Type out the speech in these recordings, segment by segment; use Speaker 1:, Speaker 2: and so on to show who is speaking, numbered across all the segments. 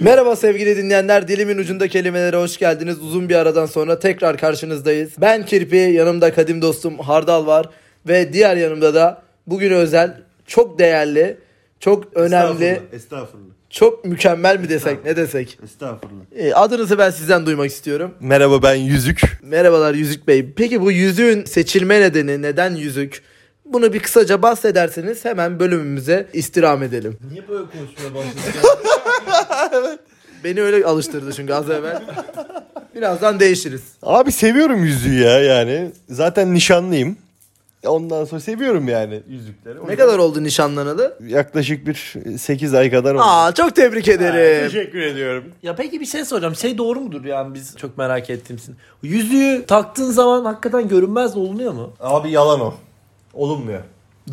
Speaker 1: Merhaba sevgili dinleyenler. Dilimin ucunda kelimelere hoş geldiniz. Uzun bir aradan sonra tekrar karşınızdayız. Ben Kirpi, yanımda kadim dostum Hardal var ve diğer yanımda da bugün özel çok değerli, çok önemli,
Speaker 2: Estağfurullah. Estağfurullah.
Speaker 1: çok mükemmel mi desek, ne desek?
Speaker 2: Estağfurullah.
Speaker 1: Ee, Adınızı ben sizden duymak istiyorum.
Speaker 3: Merhaba ben Yüzük.
Speaker 1: Merhabalar Yüzük Bey. Peki bu yüzüğün seçilme nedeni neden yüzük? Bunu bir kısaca bahsederseniz hemen bölümümüze istirham edelim.
Speaker 2: Niye böyle konuşmaya başladın?
Speaker 1: Beni öyle alıştırdı çünkü az evvel. Birazdan değişiriz.
Speaker 3: Abi seviyorum yüzüğü ya yani. Zaten nişanlıyım. Ondan sonra seviyorum yani yüzükleri.
Speaker 1: Ne kadar oldu nişanlanalı?
Speaker 3: Yaklaşık bir 8 ay kadar oldu.
Speaker 1: Aa çok tebrik ederim.
Speaker 3: Teşekkür ediyorum.
Speaker 4: Ya peki bir şey soracağım. Şey doğru mudur yani biz çok merak ettiğimsin. Yüzüğü taktığın zaman hakikaten görünmez olunuyor mu?
Speaker 3: Abi yalan o. Olunmuyor.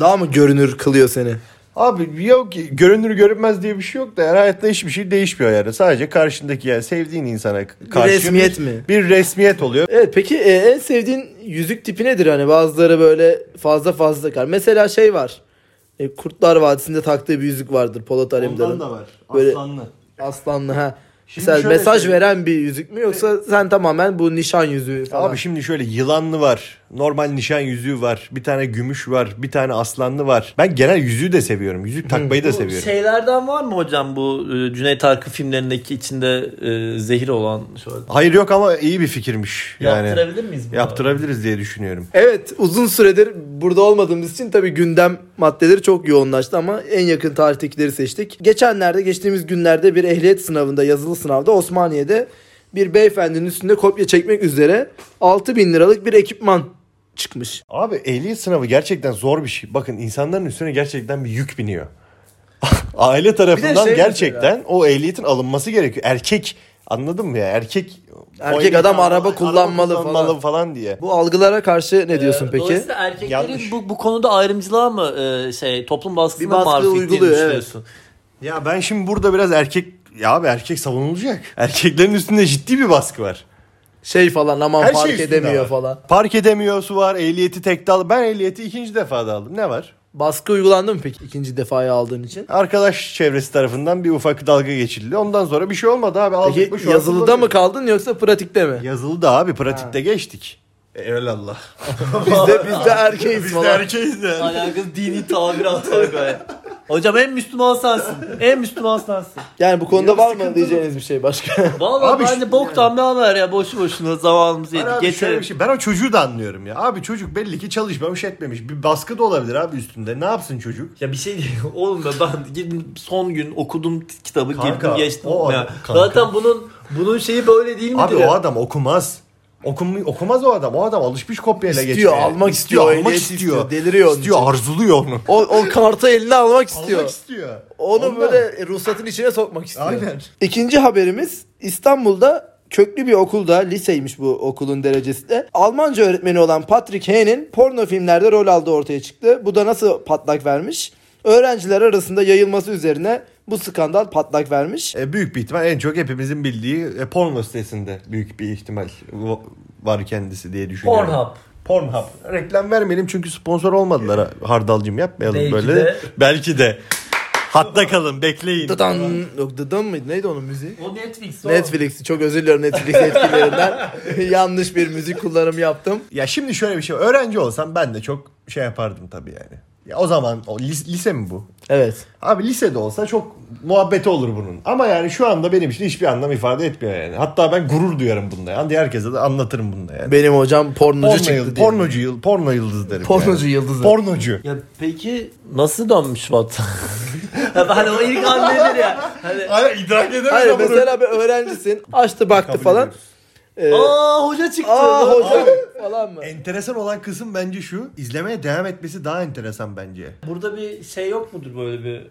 Speaker 1: Daha mı görünür kılıyor seni?
Speaker 3: Abi yok ki, görünür görünmez diye bir şey yok da yani hayatta hiçbir şey değişmiyor yani. Sadece karşındaki yani sevdiğin insana karşı
Speaker 1: resmiyet
Speaker 3: bir-
Speaker 1: mi?
Speaker 3: Bir resmiyet oluyor.
Speaker 1: Evet peki e, en sevdiğin yüzük tipi nedir? Hani bazıları böyle fazla fazla takar. Mesela şey var. E, Kurtlar Vadisi'nde taktığı bir yüzük vardır Polat
Speaker 2: Ondan
Speaker 1: Alemdar'ın.
Speaker 2: da var.
Speaker 1: Böyle-
Speaker 2: Aslanlı.
Speaker 1: Aslanlı ha.
Speaker 2: Şimdi
Speaker 1: Mesela
Speaker 2: şöyle
Speaker 1: mesaj
Speaker 2: söyleyeyim.
Speaker 1: veren bir yüzük mü yoksa sen tamamen bu nişan yüzüğü falan.
Speaker 3: Abi şimdi şöyle yılanlı var. Normal nişan yüzüğü var. Bir tane gümüş var. Bir tane aslanlı var. Ben genel yüzüğü de seviyorum. Yüzük takmayı da
Speaker 4: Bu
Speaker 3: seviyorum.
Speaker 4: Şeylerden var mı hocam bu e, Cüneyt Arkın filmlerindeki içinde e, zehir olan şöyle.
Speaker 3: Hayır yok ama iyi bir fikirmiş. Yani
Speaker 4: Yaptırabilir miyiz bunu?
Speaker 3: yaptırabiliriz diye düşünüyorum.
Speaker 1: Evet uzun süredir burada olmadığımız için tabii gündem maddeleri çok yoğunlaştı ama en yakın tarihtekileri seçtik. Geçenlerde geçtiğimiz günlerde bir ehliyet sınavında yazılı sınavda Osmaniye'de bir beyefendinin üstünde kopya çekmek üzere 6000 liralık bir ekipman çıkmış.
Speaker 3: Abi ehliyet sınavı gerçekten zor bir şey. Bakın insanların üstüne gerçekten bir yük biniyor. Aile tarafından
Speaker 1: şey
Speaker 3: gerçekten o ehliyetin alınması gerekiyor. Erkek anladın mı ya? Erkek
Speaker 1: Erkek
Speaker 3: o ehliyeti
Speaker 1: adam
Speaker 3: al-
Speaker 1: araba kullanmalı falan.
Speaker 3: kullanmalı falan diye.
Speaker 1: Bu algılara karşı ne
Speaker 4: E,
Speaker 3: Ee,
Speaker 1: diyorsun peki?
Speaker 4: Dolayısıyla erkeklerin
Speaker 3: Yanlış.
Speaker 4: bu, bu konuda ayrımcılığa mı e, şey toplum
Speaker 1: Bir
Speaker 4: baskısına
Speaker 1: baskı
Speaker 4: maruz ettiğini
Speaker 1: uyguluyor, evet.
Speaker 4: düşünüyorsun?
Speaker 3: Ya ben şimdi burada biraz erkek ya abi erkek savunulacak. Erkeklerin üstünde ciddi bir baskı var.
Speaker 1: Şey falan aman
Speaker 3: Her şey
Speaker 1: fark
Speaker 3: üstünde
Speaker 1: edemiyor
Speaker 3: var.
Speaker 1: falan.
Speaker 3: Park edemiyorsu var, ehliyeti tekte al. Ben ehliyeti ikinci defa da aldım. Ne var?
Speaker 1: Baskı uygulandı mı peki ikinci defaya aldığın için?
Speaker 3: Arkadaş çevresi tarafından bir ufak dalga geçildi. Ondan sonra bir şey olmadı abi. Aldık
Speaker 1: Peki
Speaker 3: mı şu an
Speaker 1: yazılıda mı
Speaker 3: kullanıyoruz.
Speaker 1: kaldın yoksa pratikte mi?
Speaker 3: Yazılı da abi pratikte geçtik. Eyvallah.
Speaker 1: Biz de, biz de erkeğiz
Speaker 3: E, Biz
Speaker 1: falan.
Speaker 3: de erkeğiz yani.
Speaker 4: Alakalı dini tabir atarak böyle. Hocam en Müslüman sensin. En Müslüman sensin.
Speaker 1: Yani bu konuda var mı diyeceğiniz bir şey başka?
Speaker 4: Vallahi
Speaker 3: Abi
Speaker 4: bence boktan bir haber ya boşu boşuna zamanımızı
Speaker 3: Ben,
Speaker 4: yedik.
Speaker 3: abi şöyle
Speaker 4: Geçelim.
Speaker 3: bir şey, ben o çocuğu da anlıyorum ya. Abi çocuk belli ki çalışmamış etmemiş. Bir baskı da olabilir abi üstünde. Ne yapsın çocuk?
Speaker 4: Ya bir şey değil. Oğlum ya ben girdim son gün okudum kitabı
Speaker 3: Kanka,
Speaker 4: girdim geçtim.
Speaker 3: o
Speaker 4: ya.
Speaker 3: adam- kanka.
Speaker 4: Zaten bunun bunun şeyi böyle değil midir
Speaker 3: Abi
Speaker 4: ya?
Speaker 3: o adam okumaz. Okum, okumaz o adam. O adam alışmış kopyayla
Speaker 1: İstiyor,
Speaker 3: geçmeye.
Speaker 1: almak istiyor,
Speaker 3: almak
Speaker 1: ehliyet
Speaker 3: istiyor.
Speaker 1: istiyor, deliriyor onun
Speaker 3: İstiyor,
Speaker 1: için.
Speaker 3: arzuluyor onu.
Speaker 1: O, o kartı eline almak istiyor.
Speaker 3: Almak istiyor.
Speaker 1: Onu
Speaker 3: Ondan.
Speaker 1: böyle ruhsatın içine sokmak istiyor.
Speaker 3: Aynen.
Speaker 1: İkinci haberimiz İstanbul'da köklü bir okulda liseymiş bu okulun derecesi de. Almanca öğretmeni olan Patrick H'nin porno filmlerde rol aldığı ortaya çıktı. Bu da nasıl patlak vermiş? Öğrenciler arasında yayılması üzerine bu skandal patlak vermiş.
Speaker 3: E, büyük bir ihtimal en çok hepimizin bildiği e, porno sitesinde büyük bir ihtimal vo- var kendisi diye düşünüyorum.
Speaker 4: Pornhub.
Speaker 3: Pornhub. Reklam vermeyelim çünkü sponsor olmadılar ha- Hardalcığım yapmayalım
Speaker 4: Belki
Speaker 3: böyle.
Speaker 4: de.
Speaker 3: Belki de. Hatta kalın bekleyin.
Speaker 1: Dıdan. Yok dıdan mıydı? Neydi onun müziği?
Speaker 4: O Netflix. o.
Speaker 1: Netflix'i çok özür diliyorum Netflix etkilerinden. Yanlış bir müzik kullanımı yaptım.
Speaker 3: Ya şimdi şöyle bir şey. var. Öğrenci olsam ben de çok şey yapardım tabii yani. Ya o zaman o lis- lise mi bu?
Speaker 1: Evet.
Speaker 3: Abi lisede olsa çok muhabbeti olur bunun. Ama yani şu anda benim için hiçbir anlam ifade etmiyor yani. Hatta ben gurur duyarım bunda yani. Herkese de anlatırım bunda yani.
Speaker 1: Benim hocam pornocu
Speaker 3: Porno,
Speaker 1: çıktı.
Speaker 3: yıl,
Speaker 1: diye.
Speaker 3: pornocu, yıl, porno yıldız derim.
Speaker 1: Pornocu
Speaker 3: yani.
Speaker 1: yıldızı.
Speaker 3: Pornocu.
Speaker 4: Ya peki nasıl dönmüş vatan? ya ben hani o ilk an nedir ya? Hani,
Speaker 3: Hayır idrak edemez
Speaker 1: Hayır
Speaker 3: ama bunu.
Speaker 1: mesela bir öğrencisin. Açtı baktı
Speaker 3: Kabul
Speaker 1: falan.
Speaker 3: ediyoruz.
Speaker 1: Ee,
Speaker 4: Aa hoca çıktı.
Speaker 1: aa hocam falan mı?
Speaker 3: Enteresan olan kısım bence şu. izlemeye devam etmesi daha enteresan bence.
Speaker 4: Burada bir şey yok mudur böyle bir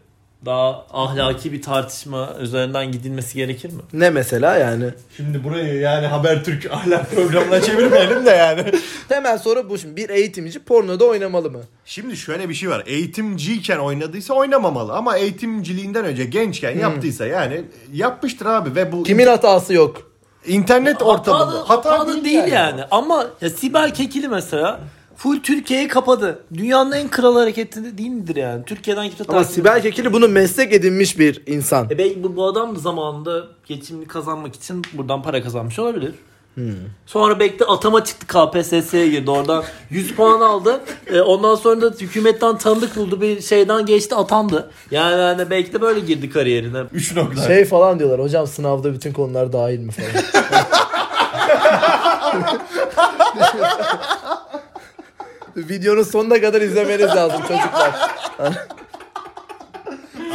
Speaker 4: daha ahlaki bir tartışma üzerinden gidilmesi gerekir mi?
Speaker 1: Ne mesela yani?
Speaker 3: Şimdi burayı yani Habertürk ahlak programına çevirmeyelim de yani.
Speaker 1: Temel soru bu şimdi. Bir eğitimci pornoda oynamalı mı?
Speaker 3: Şimdi şöyle bir şey var. Eğitimciyken oynadıysa oynamamalı ama eğitimciliğinden önce gençken yaptıysa yani yapmıştır abi ve bu
Speaker 1: Kimin hatası yok?
Speaker 3: internet
Speaker 4: Hatalı-
Speaker 3: ortamında
Speaker 4: hatalı değil yani. Ama ya Sibel Kekili mesela Full Türkiye'yi kapadı. Dünyanın en kral hareketi değil midir yani? Türkiye'den kimse
Speaker 1: Ama
Speaker 4: takip
Speaker 1: Sibel
Speaker 4: etmiyor.
Speaker 1: Kekili bunu meslek edinmiş bir insan.
Speaker 4: E belki bu, bu adam zamanında geçimini kazanmak için buradan para kazanmış olabilir.
Speaker 1: Hmm.
Speaker 4: Sonra bekle atama çıktı KPSS'ye girdi oradan 100 puan aldı. E, ondan sonra da hükümetten tanıdık buldu bir şeyden geçti atandı. Yani, yani belki de böyle girdi kariyerine.
Speaker 3: 3 nokta.
Speaker 1: Şey falan diyorlar hocam sınavda bütün konular dahil mi falan. Videonun sonuna kadar izlemeniz lazım çocuklar.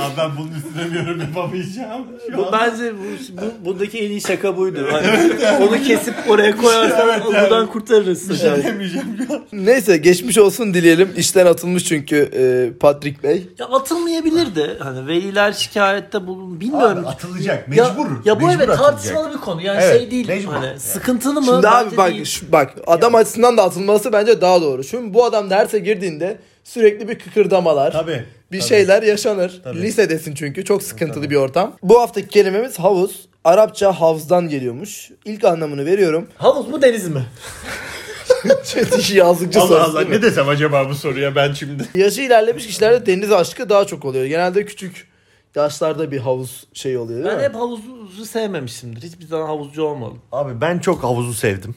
Speaker 3: Abi ben bunun üstüne bir yorum yapamayacağım. Şu
Speaker 4: Bu,
Speaker 3: an-
Speaker 4: bence bu, bu, bundaki en iyi şaka buydu. Hani onu kesip oraya koyarsan buradan kurtarırız. hocam.
Speaker 3: demeyeceğim şu an.
Speaker 1: Neyse geçmiş olsun dileyelim. İşten atılmış çünkü e, Patrick Bey.
Speaker 4: Ya atılmayabilir de hani veliler şikayette bulun bilmiyorum.
Speaker 3: Abi atılacak.
Speaker 4: Ya-
Speaker 3: Mecbur.
Speaker 4: Ya, bu
Speaker 3: Mecbur
Speaker 4: evet
Speaker 3: atılacak.
Speaker 4: tartışmalı bir konu. Yani
Speaker 3: Evet,
Speaker 4: şey değil.
Speaker 3: mecbur.
Speaker 4: Hani,
Speaker 3: Yani.
Speaker 4: Sıkıntılı mı?
Speaker 1: Şimdi abi
Speaker 4: Bence
Speaker 1: bak
Speaker 4: değil.
Speaker 1: şu- bak adam açısından da atılması bence daha doğru. Çünkü bu adam derse girdiğinde sürekli bir kıkırdamalar.
Speaker 3: Tabii.
Speaker 1: Bir
Speaker 3: tabii.
Speaker 1: şeyler yaşanır.
Speaker 3: Tabii.
Speaker 1: Lisedesin çünkü çok sıkıntılı bir ortam. Bu haftaki kelimemiz havuz. Arapça havzdan geliyormuş. İlk anlamını veriyorum.
Speaker 4: Havuz mu deniz mi?
Speaker 1: Çetiş yazlıkçı
Speaker 3: Allah
Speaker 1: sorusu.
Speaker 3: Allah
Speaker 1: değil mi?
Speaker 3: ne desem acaba bu soruya ben şimdi.
Speaker 1: Yaşı ilerlemiş kişilerde deniz aşkı daha çok oluyor. Genelde küçük yaşlarda bir havuz şey oluyor değil
Speaker 4: Ben
Speaker 1: mi?
Speaker 4: hep havuzu sevmemişimdir. Hiçbir zaman havuzcu olmadım.
Speaker 3: Abi ben çok havuzu sevdim.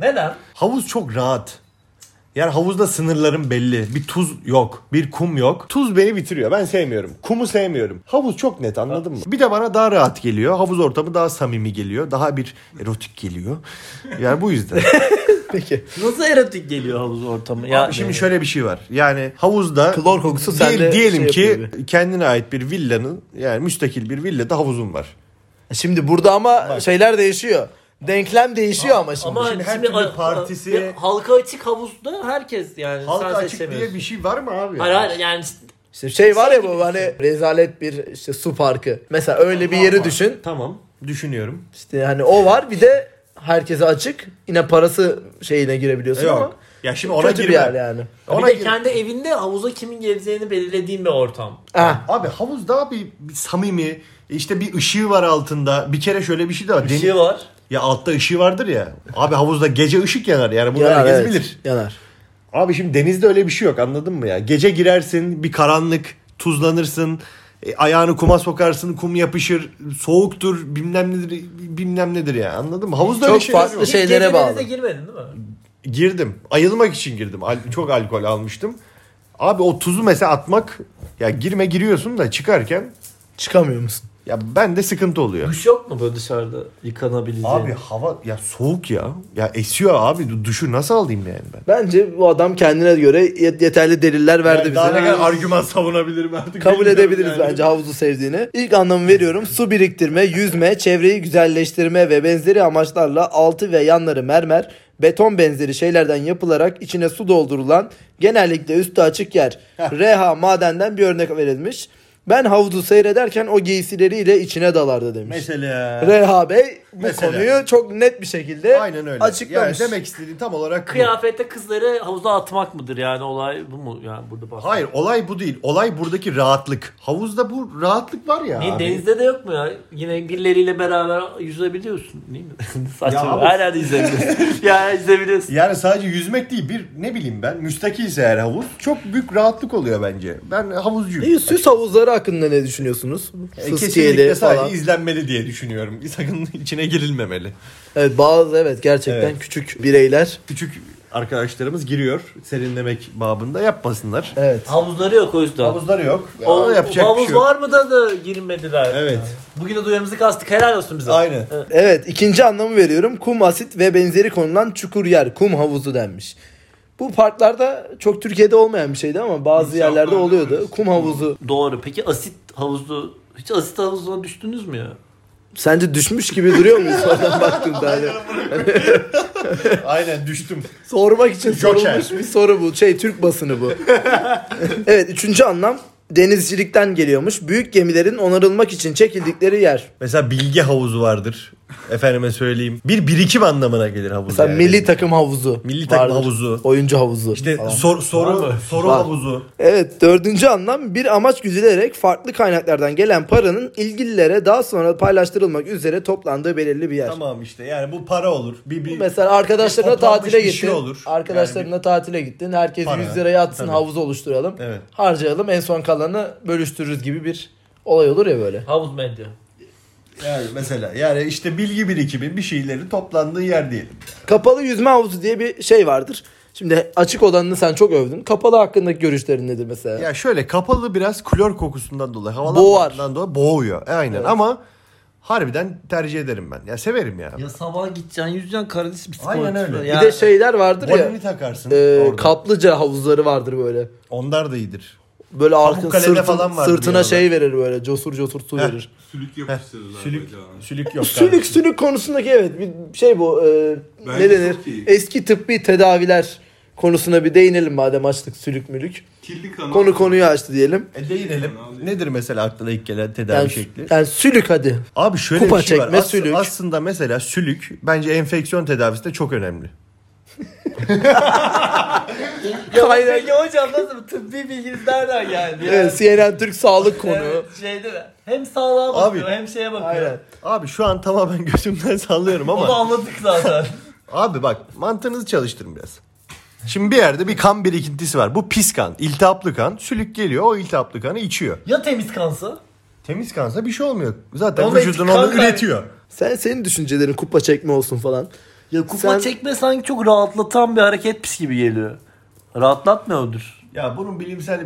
Speaker 4: Neden?
Speaker 3: Havuz çok rahat. Yani havuzda sınırların belli. Bir tuz yok. Bir kum yok. Tuz beni bitiriyor. Ben sevmiyorum. Kumu sevmiyorum. Havuz çok net anladın mı? Bir de bana daha rahat geliyor. Havuz ortamı daha samimi geliyor. Daha bir erotik geliyor. Yani bu yüzden.
Speaker 1: Peki.
Speaker 4: Nasıl erotik geliyor havuz ortamı? Ya,
Speaker 3: Abi şimdi şöyle bir şey var. Yani havuzda
Speaker 1: Klor kokusu
Speaker 3: Diye-
Speaker 1: sende
Speaker 3: diyelim
Speaker 1: şey
Speaker 3: ki
Speaker 1: yapıyor
Speaker 3: kendine ait bir villanın yani müstakil bir villada havuzun var.
Speaker 1: Şimdi burada ama şeyler değişiyor. Denklem değişiyor ama şimdi.
Speaker 4: ama
Speaker 3: Şimdi
Speaker 4: şimdi,
Speaker 3: her türlü
Speaker 4: a- a-
Speaker 3: partisi-
Speaker 4: bir halka açık havuzda herkes yani
Speaker 3: Halka
Speaker 4: sen
Speaker 3: açık diye
Speaker 4: seçemiyorsun.
Speaker 3: bir şey var mı abi?
Speaker 4: Hayır hayır yani
Speaker 1: İşte şey var ya bu hani rezalet bir işte su parkı. Mesela öyle bir yeri düşün.
Speaker 3: Tamam düşünüyorum.
Speaker 1: İşte hani o var bir de herkese açık. Yine parası şeyine girebiliyorsun ama.
Speaker 3: Yok. Ya şimdi ona
Speaker 1: kötü
Speaker 3: girme.
Speaker 1: bir yer yani.
Speaker 3: Ona
Speaker 4: bir de
Speaker 3: gir-
Speaker 4: kendi evinde havuza kimin geleceğini belirlediğin bir ortam.
Speaker 1: Ah.
Speaker 3: Abi havuz daha bir, bir samimi. işte bir ışığı var altında. Bir kere şöyle bir şey de var.
Speaker 4: Bir
Speaker 3: Deniz-
Speaker 4: şey var.
Speaker 3: Ya altta ışığı vardır ya. Abi havuzda gece ışık yanar yani bunu
Speaker 1: Yanar,
Speaker 3: herkes
Speaker 1: evet.
Speaker 3: bilir.
Speaker 1: Yanar.
Speaker 3: Abi şimdi denizde öyle bir şey yok anladın mı ya? Gece girersin bir karanlık tuzlanırsın. e, ayağını kuma sokarsın kum yapışır. Soğuktur bilmem nedir bilmem nedir ya anladın mı? Havuzda
Speaker 1: Çok
Speaker 3: öyle şeyler
Speaker 1: farklı
Speaker 3: yok.
Speaker 1: şey- Şeylere
Speaker 4: Gece
Speaker 1: bağlı.
Speaker 4: denize girmedin değil mi?
Speaker 3: Girdim ayılmak için girdim Al- çok alkol almıştım. Abi o tuzu mesela atmak ya girme giriyorsun da çıkarken
Speaker 1: Çıkamıyor musun?
Speaker 3: ya ben de sıkıntı oluyor.
Speaker 4: Duş yok mu böyle dışarıda yıkanabileceğin?
Speaker 3: Abi hava ya soğuk ya. Ya esiyor abi Du- duşu nasıl alayım yani ben?
Speaker 1: Bence bu adam kendine göre yet- yeterli deliller verdi
Speaker 3: Daha ne
Speaker 1: bize.
Speaker 3: kadar argüman savunabilirim artık.
Speaker 1: Kabul
Speaker 3: bilmiyorum
Speaker 1: edebiliriz
Speaker 3: yani.
Speaker 1: bence havuzu sevdiğini. İlk anlamı veriyorum. Su biriktirme, yüzme, çevreyi güzelleştirme ve benzeri amaçlarla altı ve yanları mermer, beton benzeri şeylerden yapılarak içine su doldurulan genellikle üstü açık yer. Reha madenden bir örnek verilmiş. Ben havuzu seyrederken o giysileriyle içine dalardı demiş.
Speaker 3: Mesela.
Speaker 1: Reha Bey bu
Speaker 3: Mesela.
Speaker 1: konuyu çok net bir şekilde
Speaker 3: Aynen öyle.
Speaker 1: açıklamış.
Speaker 3: Yani demek istediğim tam olarak bu.
Speaker 4: Kıyafette kızları havuza atmak mıdır yani olay bu mu yani burada bahsediyor?
Speaker 3: Hayır olay bu değil. Olay buradaki rahatlık. Havuzda bu rahatlık var ya.
Speaker 4: Niye
Speaker 3: abi.
Speaker 4: denizde de yok mu ya? Yine birileriyle beraber yüzebiliyorsun değil mi? Saçma.
Speaker 3: Ya abi-
Speaker 4: Her yerde yüzebiliyorsun. ya yüzebiliyorsun.
Speaker 3: Yani sadece yüzmek değil bir ne bileyim ben müstakilse eğer havuz çok büyük rahatlık oluyor bence. Ben havuzcuyum.
Speaker 1: E, süs havuzları hakkında ne düşünüyorsunuz?
Speaker 3: E,
Speaker 1: Fıskiyeli
Speaker 3: Kesinlikle sadece
Speaker 1: falan.
Speaker 3: izlenmeli diye düşünüyorum. Sakın içine girilmemeli.
Speaker 1: Evet bazı evet gerçekten
Speaker 3: Evet.
Speaker 1: küçük bireyler.
Speaker 3: Küçük arkadaşlarımız giriyor serinlemek babında yapmasınlar.
Speaker 1: Evet.
Speaker 4: Havuzları yok o yüzden.
Speaker 3: Havuzları yok.
Speaker 4: O,
Speaker 3: Ama yapacak
Speaker 4: havuz
Speaker 3: bir şey yok.
Speaker 4: var mı da da girmediler.
Speaker 3: Evet.
Speaker 4: Bugün de duyarımızı kastık. Helal olsun bize.
Speaker 3: Aynen.
Speaker 4: Evet.
Speaker 1: Evet ikinci anlamı veriyorum. Kum asit ve benzeri konulan çukur yer. Kum havuzu denmiş. Bu parklarda çok Türkiye'de olmayan bir şeydi ama bazı yerlerde oluyordu. Kum havuzu.
Speaker 4: Doğru. Peki asit havuzu hiç asit havuzuna düştünüz mü ya?
Speaker 1: Sence düşmüş gibi duruyor muyuz oradan baktığında? Hani
Speaker 3: Aynen düştüm.
Speaker 1: sormak için
Speaker 3: Joker.
Speaker 1: sorulmuş bir soru bu. Şey Türk basını bu. evet üçüncü anlam denizcilikten geliyormuş. Büyük gemilerin onarılmak için çekildikleri yer.
Speaker 3: Mesela bilgi havuzu vardır. Efendime söyleyeyim. Bir birikim anlamına gelir havuz.
Speaker 1: Mesela
Speaker 3: yani.
Speaker 1: milli takım havuzu.
Speaker 3: Milli takım
Speaker 1: vardır.
Speaker 3: havuzu.
Speaker 1: Oyuncu havuzu.
Speaker 3: İşte
Speaker 1: falan.
Speaker 3: sor- soru
Speaker 4: Var mı?
Speaker 3: soru
Speaker 1: Var.
Speaker 3: havuzu.
Speaker 1: Evet dördüncü anlam bir amaç güdülerek farklı kaynaklardan gelen paranın ilgililere daha sonra paylaştırılmak üzere toplandığı belirli bir yer.
Speaker 3: Tamam işte yani bu para olur. Bir, bir
Speaker 1: Mesela arkadaşlarına
Speaker 3: Bir toplanmış
Speaker 1: tatile
Speaker 3: bir
Speaker 1: gittin.
Speaker 3: şey olur.
Speaker 1: Arkadaşlarına tatile gittin. Herkes
Speaker 3: Para.
Speaker 1: 100 liraya atsın
Speaker 3: Tabii.
Speaker 1: havuzu oluşturalım.
Speaker 3: Evet.
Speaker 1: Harcayalım en son kalanı bölüştürürüz gibi bir olay olur ya böyle.
Speaker 4: Havuz medya.
Speaker 3: yani mesela yani işte bilgi birikimi bir şeylerin toplandığı yer diyelim.
Speaker 1: Kapalı yüzme havuzu diye bir şey vardır. Şimdi açık olanını sen çok övdün. Kapalı hakkındaki görüşlerin nedir mesela?
Speaker 3: Ya şöyle kapalı biraz klor kokusundan dolayı
Speaker 1: Boğar.
Speaker 3: havalanmadan dolayı boğuyor. E, aynen
Speaker 1: Evet.
Speaker 3: ama harbiden tercih ederim ben. Ya severim ya.
Speaker 4: Ya sabah gideceksin yüzeceksin Karadeniz bisikleti.
Speaker 3: Aynen öyle.
Speaker 1: bir de
Speaker 4: şey-
Speaker 1: şeyler vardır ya.
Speaker 3: Bonini takarsın
Speaker 1: e,
Speaker 3: orada.
Speaker 1: kaplıca havuzları vardır böyle.
Speaker 3: Onlar da iyidir.
Speaker 1: Böyle arkın
Speaker 3: Pamukkale'de
Speaker 1: sırtın,
Speaker 3: falan vardı bir
Speaker 1: sırtına
Speaker 3: aralar.
Speaker 1: şey verir böyle cosur cosur su verir.
Speaker 2: Sülük yapıştırırlar
Speaker 3: Sülük,
Speaker 2: bacağına.
Speaker 3: sülük yok.
Speaker 1: Sülük
Speaker 3: kardeşim.
Speaker 1: sülük konusundaki evet bir şey bu e,
Speaker 2: Bence
Speaker 1: ne denir?
Speaker 2: çok iyi.
Speaker 1: Eski tıbbi tedaviler konusuna bir değinelim madem açtık sülük mülük.
Speaker 2: Kirli kanal.
Speaker 1: Konu konuyu açtı diyelim.
Speaker 3: E değinelim. Nedir mesela aklına ilk gelen tedavi
Speaker 1: Yani,
Speaker 3: şekli?
Speaker 1: yani sülük hadi.
Speaker 3: Abi şöyle
Speaker 1: Kupa
Speaker 3: bir şey
Speaker 1: çekme,
Speaker 3: var. As-
Speaker 1: sülük.
Speaker 3: Aslında mesela sülük bence enfeksiyon tedavisinde çok önemli.
Speaker 1: Ya Kaynak- peki
Speaker 4: hocam nasıl tıbbi bilginiz nereden geldi?
Speaker 1: Evet, CNN Türk sağlık konu.
Speaker 4: şeyde Hem sağlığa
Speaker 3: bakıyor, Abi.
Speaker 4: hem şeye bakıyor.
Speaker 1: Aynen.
Speaker 3: Abi şu an tamamen gözümden sallıyorum ama
Speaker 4: anladık zaten.
Speaker 3: abi bak mantığınızı çalıştırın biraz. Şimdi bir yerde bir kan birikintisi var. Bu pis kan, iltihaplı kan. Sülük geliyor o iltihaplı kanı içiyor.
Speaker 4: ya temiz kansa?
Speaker 3: Temiz kansa bir şey olmuyor. Zaten
Speaker 4: Ama
Speaker 3: vücudun
Speaker 4: kan
Speaker 3: onu
Speaker 4: kay-
Speaker 3: üretiyor.
Speaker 1: Sen senin düşüncelerin kupa çekme olsun falan.
Speaker 4: Ya kupa
Speaker 1: Sen-
Speaker 4: çekme sanki çok rahatlatan bir hareketmiş gibi geliyor. Rahatlatmıyordur.
Speaker 3: Ya bunun bilimsel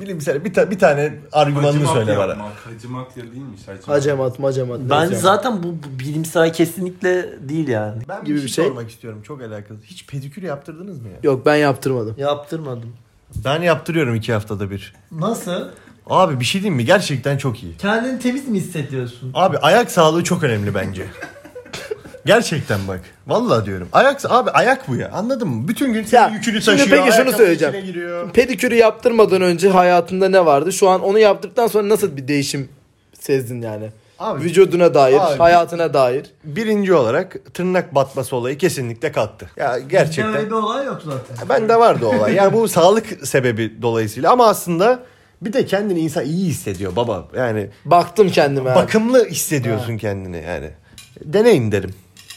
Speaker 3: bilimsel bir, ta- bir tane argümanını
Speaker 2: Hacimak
Speaker 3: söyle bana.
Speaker 2: yapmak. Hacimak ya değilmiş. Hacimak.
Speaker 1: Hacamat macamat. neyse.
Speaker 4: Bence zaten bu, bu bilimsel kesinlikle değil yani.
Speaker 3: Ben
Speaker 1: Gibi
Speaker 3: bir
Speaker 1: bir
Speaker 3: şey,
Speaker 1: şey.
Speaker 3: sormak istiyorum. Çok alakalı. Hiç pedikür yaptırdınız mı ya?
Speaker 1: Yok ben yaptırmadım.
Speaker 4: Yaptırmadım.
Speaker 3: Ben yaptırıyorum iki haftada bir.
Speaker 4: Nasıl?
Speaker 3: Abi bir şey diyeyim mi? Gerçekten çok iyi.
Speaker 4: Kendini temiz mi hissediyorsun?
Speaker 3: Abi ayak sağlığı çok önemli bence. Gerçekten bak. Vallahi diyorum. Ayak abi ayak bu ya. Anladın mı? Bütün gün senin
Speaker 1: Ya,
Speaker 3: yükünü
Speaker 1: şimdi
Speaker 3: taşıyor.
Speaker 1: peki şunu
Speaker 3: ayakkabının
Speaker 1: söyleyeceğim.
Speaker 3: içine giriyor.
Speaker 1: Pedikürü yaptırmadan önce hayatında ne vardı? Şu an onu yaptıktan sonra nasıl bir değişim sezdin yani?
Speaker 3: Abi-
Speaker 1: Vücuduna dair,
Speaker 3: Abi-
Speaker 1: hayatına dair.
Speaker 3: Birinci olarak tırnak batması olayı kesinlikle kalktı. Ya gerçekten.
Speaker 4: bir olay yok zaten.
Speaker 3: Ben de vardı o olay. Yani bu sağlık sebebi dolayısıyla ama aslında bir de kendini insan iyi hissediyor baba. Yani
Speaker 1: Baktım kendime. abi.
Speaker 3: bakımlı hissediyorsun kendini yani. Deneyin derim.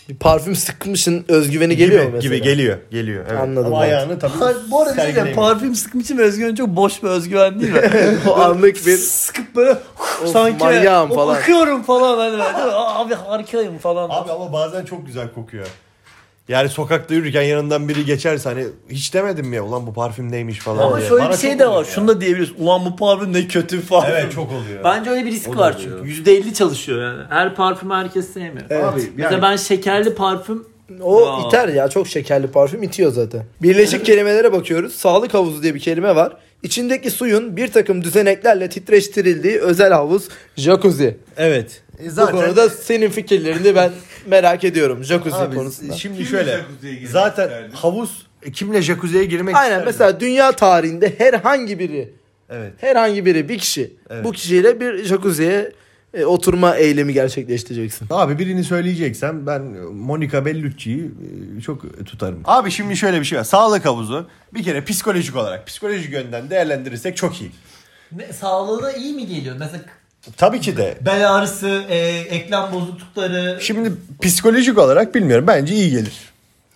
Speaker 1: Bir parfüm sıkmışın özgüveni geliyor
Speaker 3: gibi,
Speaker 1: mu mesela.
Speaker 3: gibi geliyor. Geliyor. Evet.
Speaker 1: Anladım,
Speaker 3: Ama
Speaker 1: mantıklı.
Speaker 3: ayağını tabii
Speaker 4: Bu arada bir şey diyeceğim,
Speaker 3: sergilemiyor.
Speaker 4: parfüm sıkım için özgüven çok boş bir özgüven değil mi?
Speaker 1: o anlık bir
Speaker 4: Sıkıp böyle
Speaker 1: Of,
Speaker 4: sanki
Speaker 1: manyağım
Speaker 4: o-
Speaker 1: falan.
Speaker 4: bakıyorum falan hani böyle, değil mi? abi harikayım falan.
Speaker 3: Abi ama bazen çok güzel kokuyor. Yani sokakta yürürken yanından biri geçerse hani hiç demedim mi ya ulan bu parfüm neymiş falan
Speaker 4: Ama
Speaker 3: diye.
Speaker 4: şöyle
Speaker 3: Bana
Speaker 4: bir şey
Speaker 3: çok
Speaker 4: de
Speaker 3: oluyor
Speaker 4: var.
Speaker 3: ya.
Speaker 4: Şunu da diyebiliriz. Ulan bu parfüm ne kötü falan.
Speaker 3: Evet çok oluyor.
Speaker 4: Bence öyle bir risk
Speaker 3: O da
Speaker 4: var
Speaker 3: oluyor.
Speaker 4: çünkü. %50 çalışıyor yani. Her parfümü herkes sevmiyor.
Speaker 3: Abi yani
Speaker 4: Mesela ben şekerli parfüm
Speaker 1: O
Speaker 4: Aa.
Speaker 1: iter ya çok şekerli parfüm itiyor zaten. Birleşik kelimelere bakıyoruz. Sağlık havuzu diye bir kelime var. İçindeki suyun bir takım düzeneklerle titreştirildiği özel havuz jacuzzi.
Speaker 3: evet. E
Speaker 1: Bu konuda senin fikirlerini ben merak ediyorum jacuzzi
Speaker 3: Abi,
Speaker 1: konusunda.
Speaker 3: şimdi
Speaker 2: Kimle
Speaker 3: şöyle
Speaker 2: jacuzziye girmek
Speaker 3: zaten
Speaker 2: isterdin?
Speaker 3: havuz e, kimle jacuzziye girmek
Speaker 1: Aynen
Speaker 3: isterdin?
Speaker 1: mesela dünya tarihinde herhangi biri
Speaker 3: Evet.
Speaker 1: herhangi biri bir kişi
Speaker 3: Evet.
Speaker 1: bu kişiyle bir jacuzziye e, oturma eylemi gerçekleştireceksin.
Speaker 3: Abi birini söyleyeceksem ben Monica Bellucci'yi e, çok tutarım. Abi şimdi şöyle bir şey var. Sağlık havuzu bir kere psikolojik olarak psikolojik yönden değerlendirirsek çok iyi.
Speaker 4: ne, sağlığına iyi mi geliyor? Mesela
Speaker 3: Tabii ki de
Speaker 4: bel ağrısı, e, eklem bozuklukları.
Speaker 3: Şimdi psikolojik olarak bilmiyorum. Bence iyi gelir.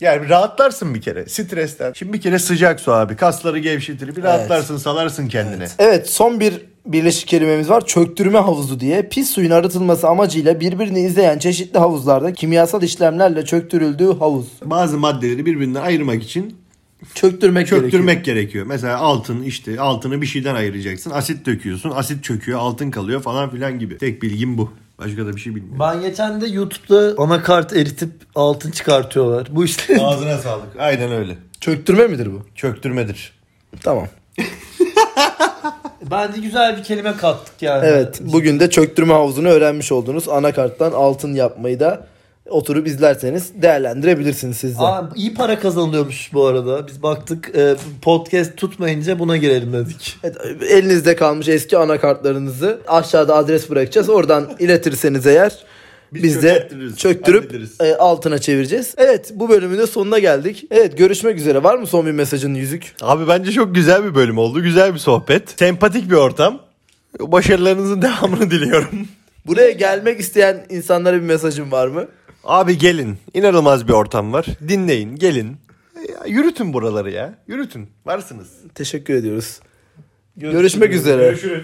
Speaker 3: Yani rahatlarsın bir kere stresten. Şimdi bir kere sıcak su abi. Kasları gevşetir. Bir rahatlarsın salarsın kendini.
Speaker 1: Evet son bir birleşik kelimemiz var. Çöktürme havuzu diye. Pis suyun arıtılması amacıyla birbirini izleyen çeşitli havuzlarda kimyasal işlemlerle çöktürüldüğü havuz.
Speaker 3: Bazı maddeleri birbirinden ayırmak için
Speaker 1: Çöktürmek,
Speaker 3: çöktürmek
Speaker 1: gerekiyor.
Speaker 3: gerekiyor. Mesela altın işte altını bir şeyden ayıracaksın. Asit döküyorsun. Asit çöküyor. Altın kalıyor falan filan gibi. Tek bilgim bu. Başka da bir şey bilmiyorum.
Speaker 4: Ben geçen de YouTube'da anakart eritip altın çıkartıyorlar. Bu işte.
Speaker 3: Ağzına sağlık. Aynen öyle.
Speaker 1: Çöktürme midir bu?
Speaker 3: Çöktürmedir.
Speaker 1: Tamam.
Speaker 4: Bence güzel bir kelime kattık yani.
Speaker 1: Evet bugün de çöktürme havuzunu öğrenmiş oldunuz. Anakarttan altın yapmayı da oturup izlerseniz değerlendirebilirsiniz siz de.
Speaker 4: Aa, iyi para kazanılıyormuş bu arada. Biz baktık e, podcast tutmayınca buna girelim dedik.
Speaker 1: Evet, elinizde kalmış eski anakartlarınızı aşağıda adres bırakacağız. Oradan iletirseniz eğer biz,
Speaker 3: Biz
Speaker 1: de
Speaker 3: çökertiriz,
Speaker 1: çöktürüp
Speaker 3: hallederiz.
Speaker 1: e, altına çevireceğiz. Evet bu bölümün de sonuna geldik. Evet görüşmek üzere. Var mı son bir mesajın yüzük?
Speaker 3: Abi bence çok güzel bir bölüm oldu. Güzel bir sohbet. Sempatik bir ortam. Başarılarınızın devamını diliyorum.
Speaker 1: Buraya gelmek isteyen insanlara bir mesajın var mı?
Speaker 3: Abi gelin. İnanılmaz bir ortam var. Dinleyin, gelin. Ya, yürütün buraları ya. Yürütün. Varsınız.
Speaker 1: Teşekkür ediyoruz. Görüşmek üzere.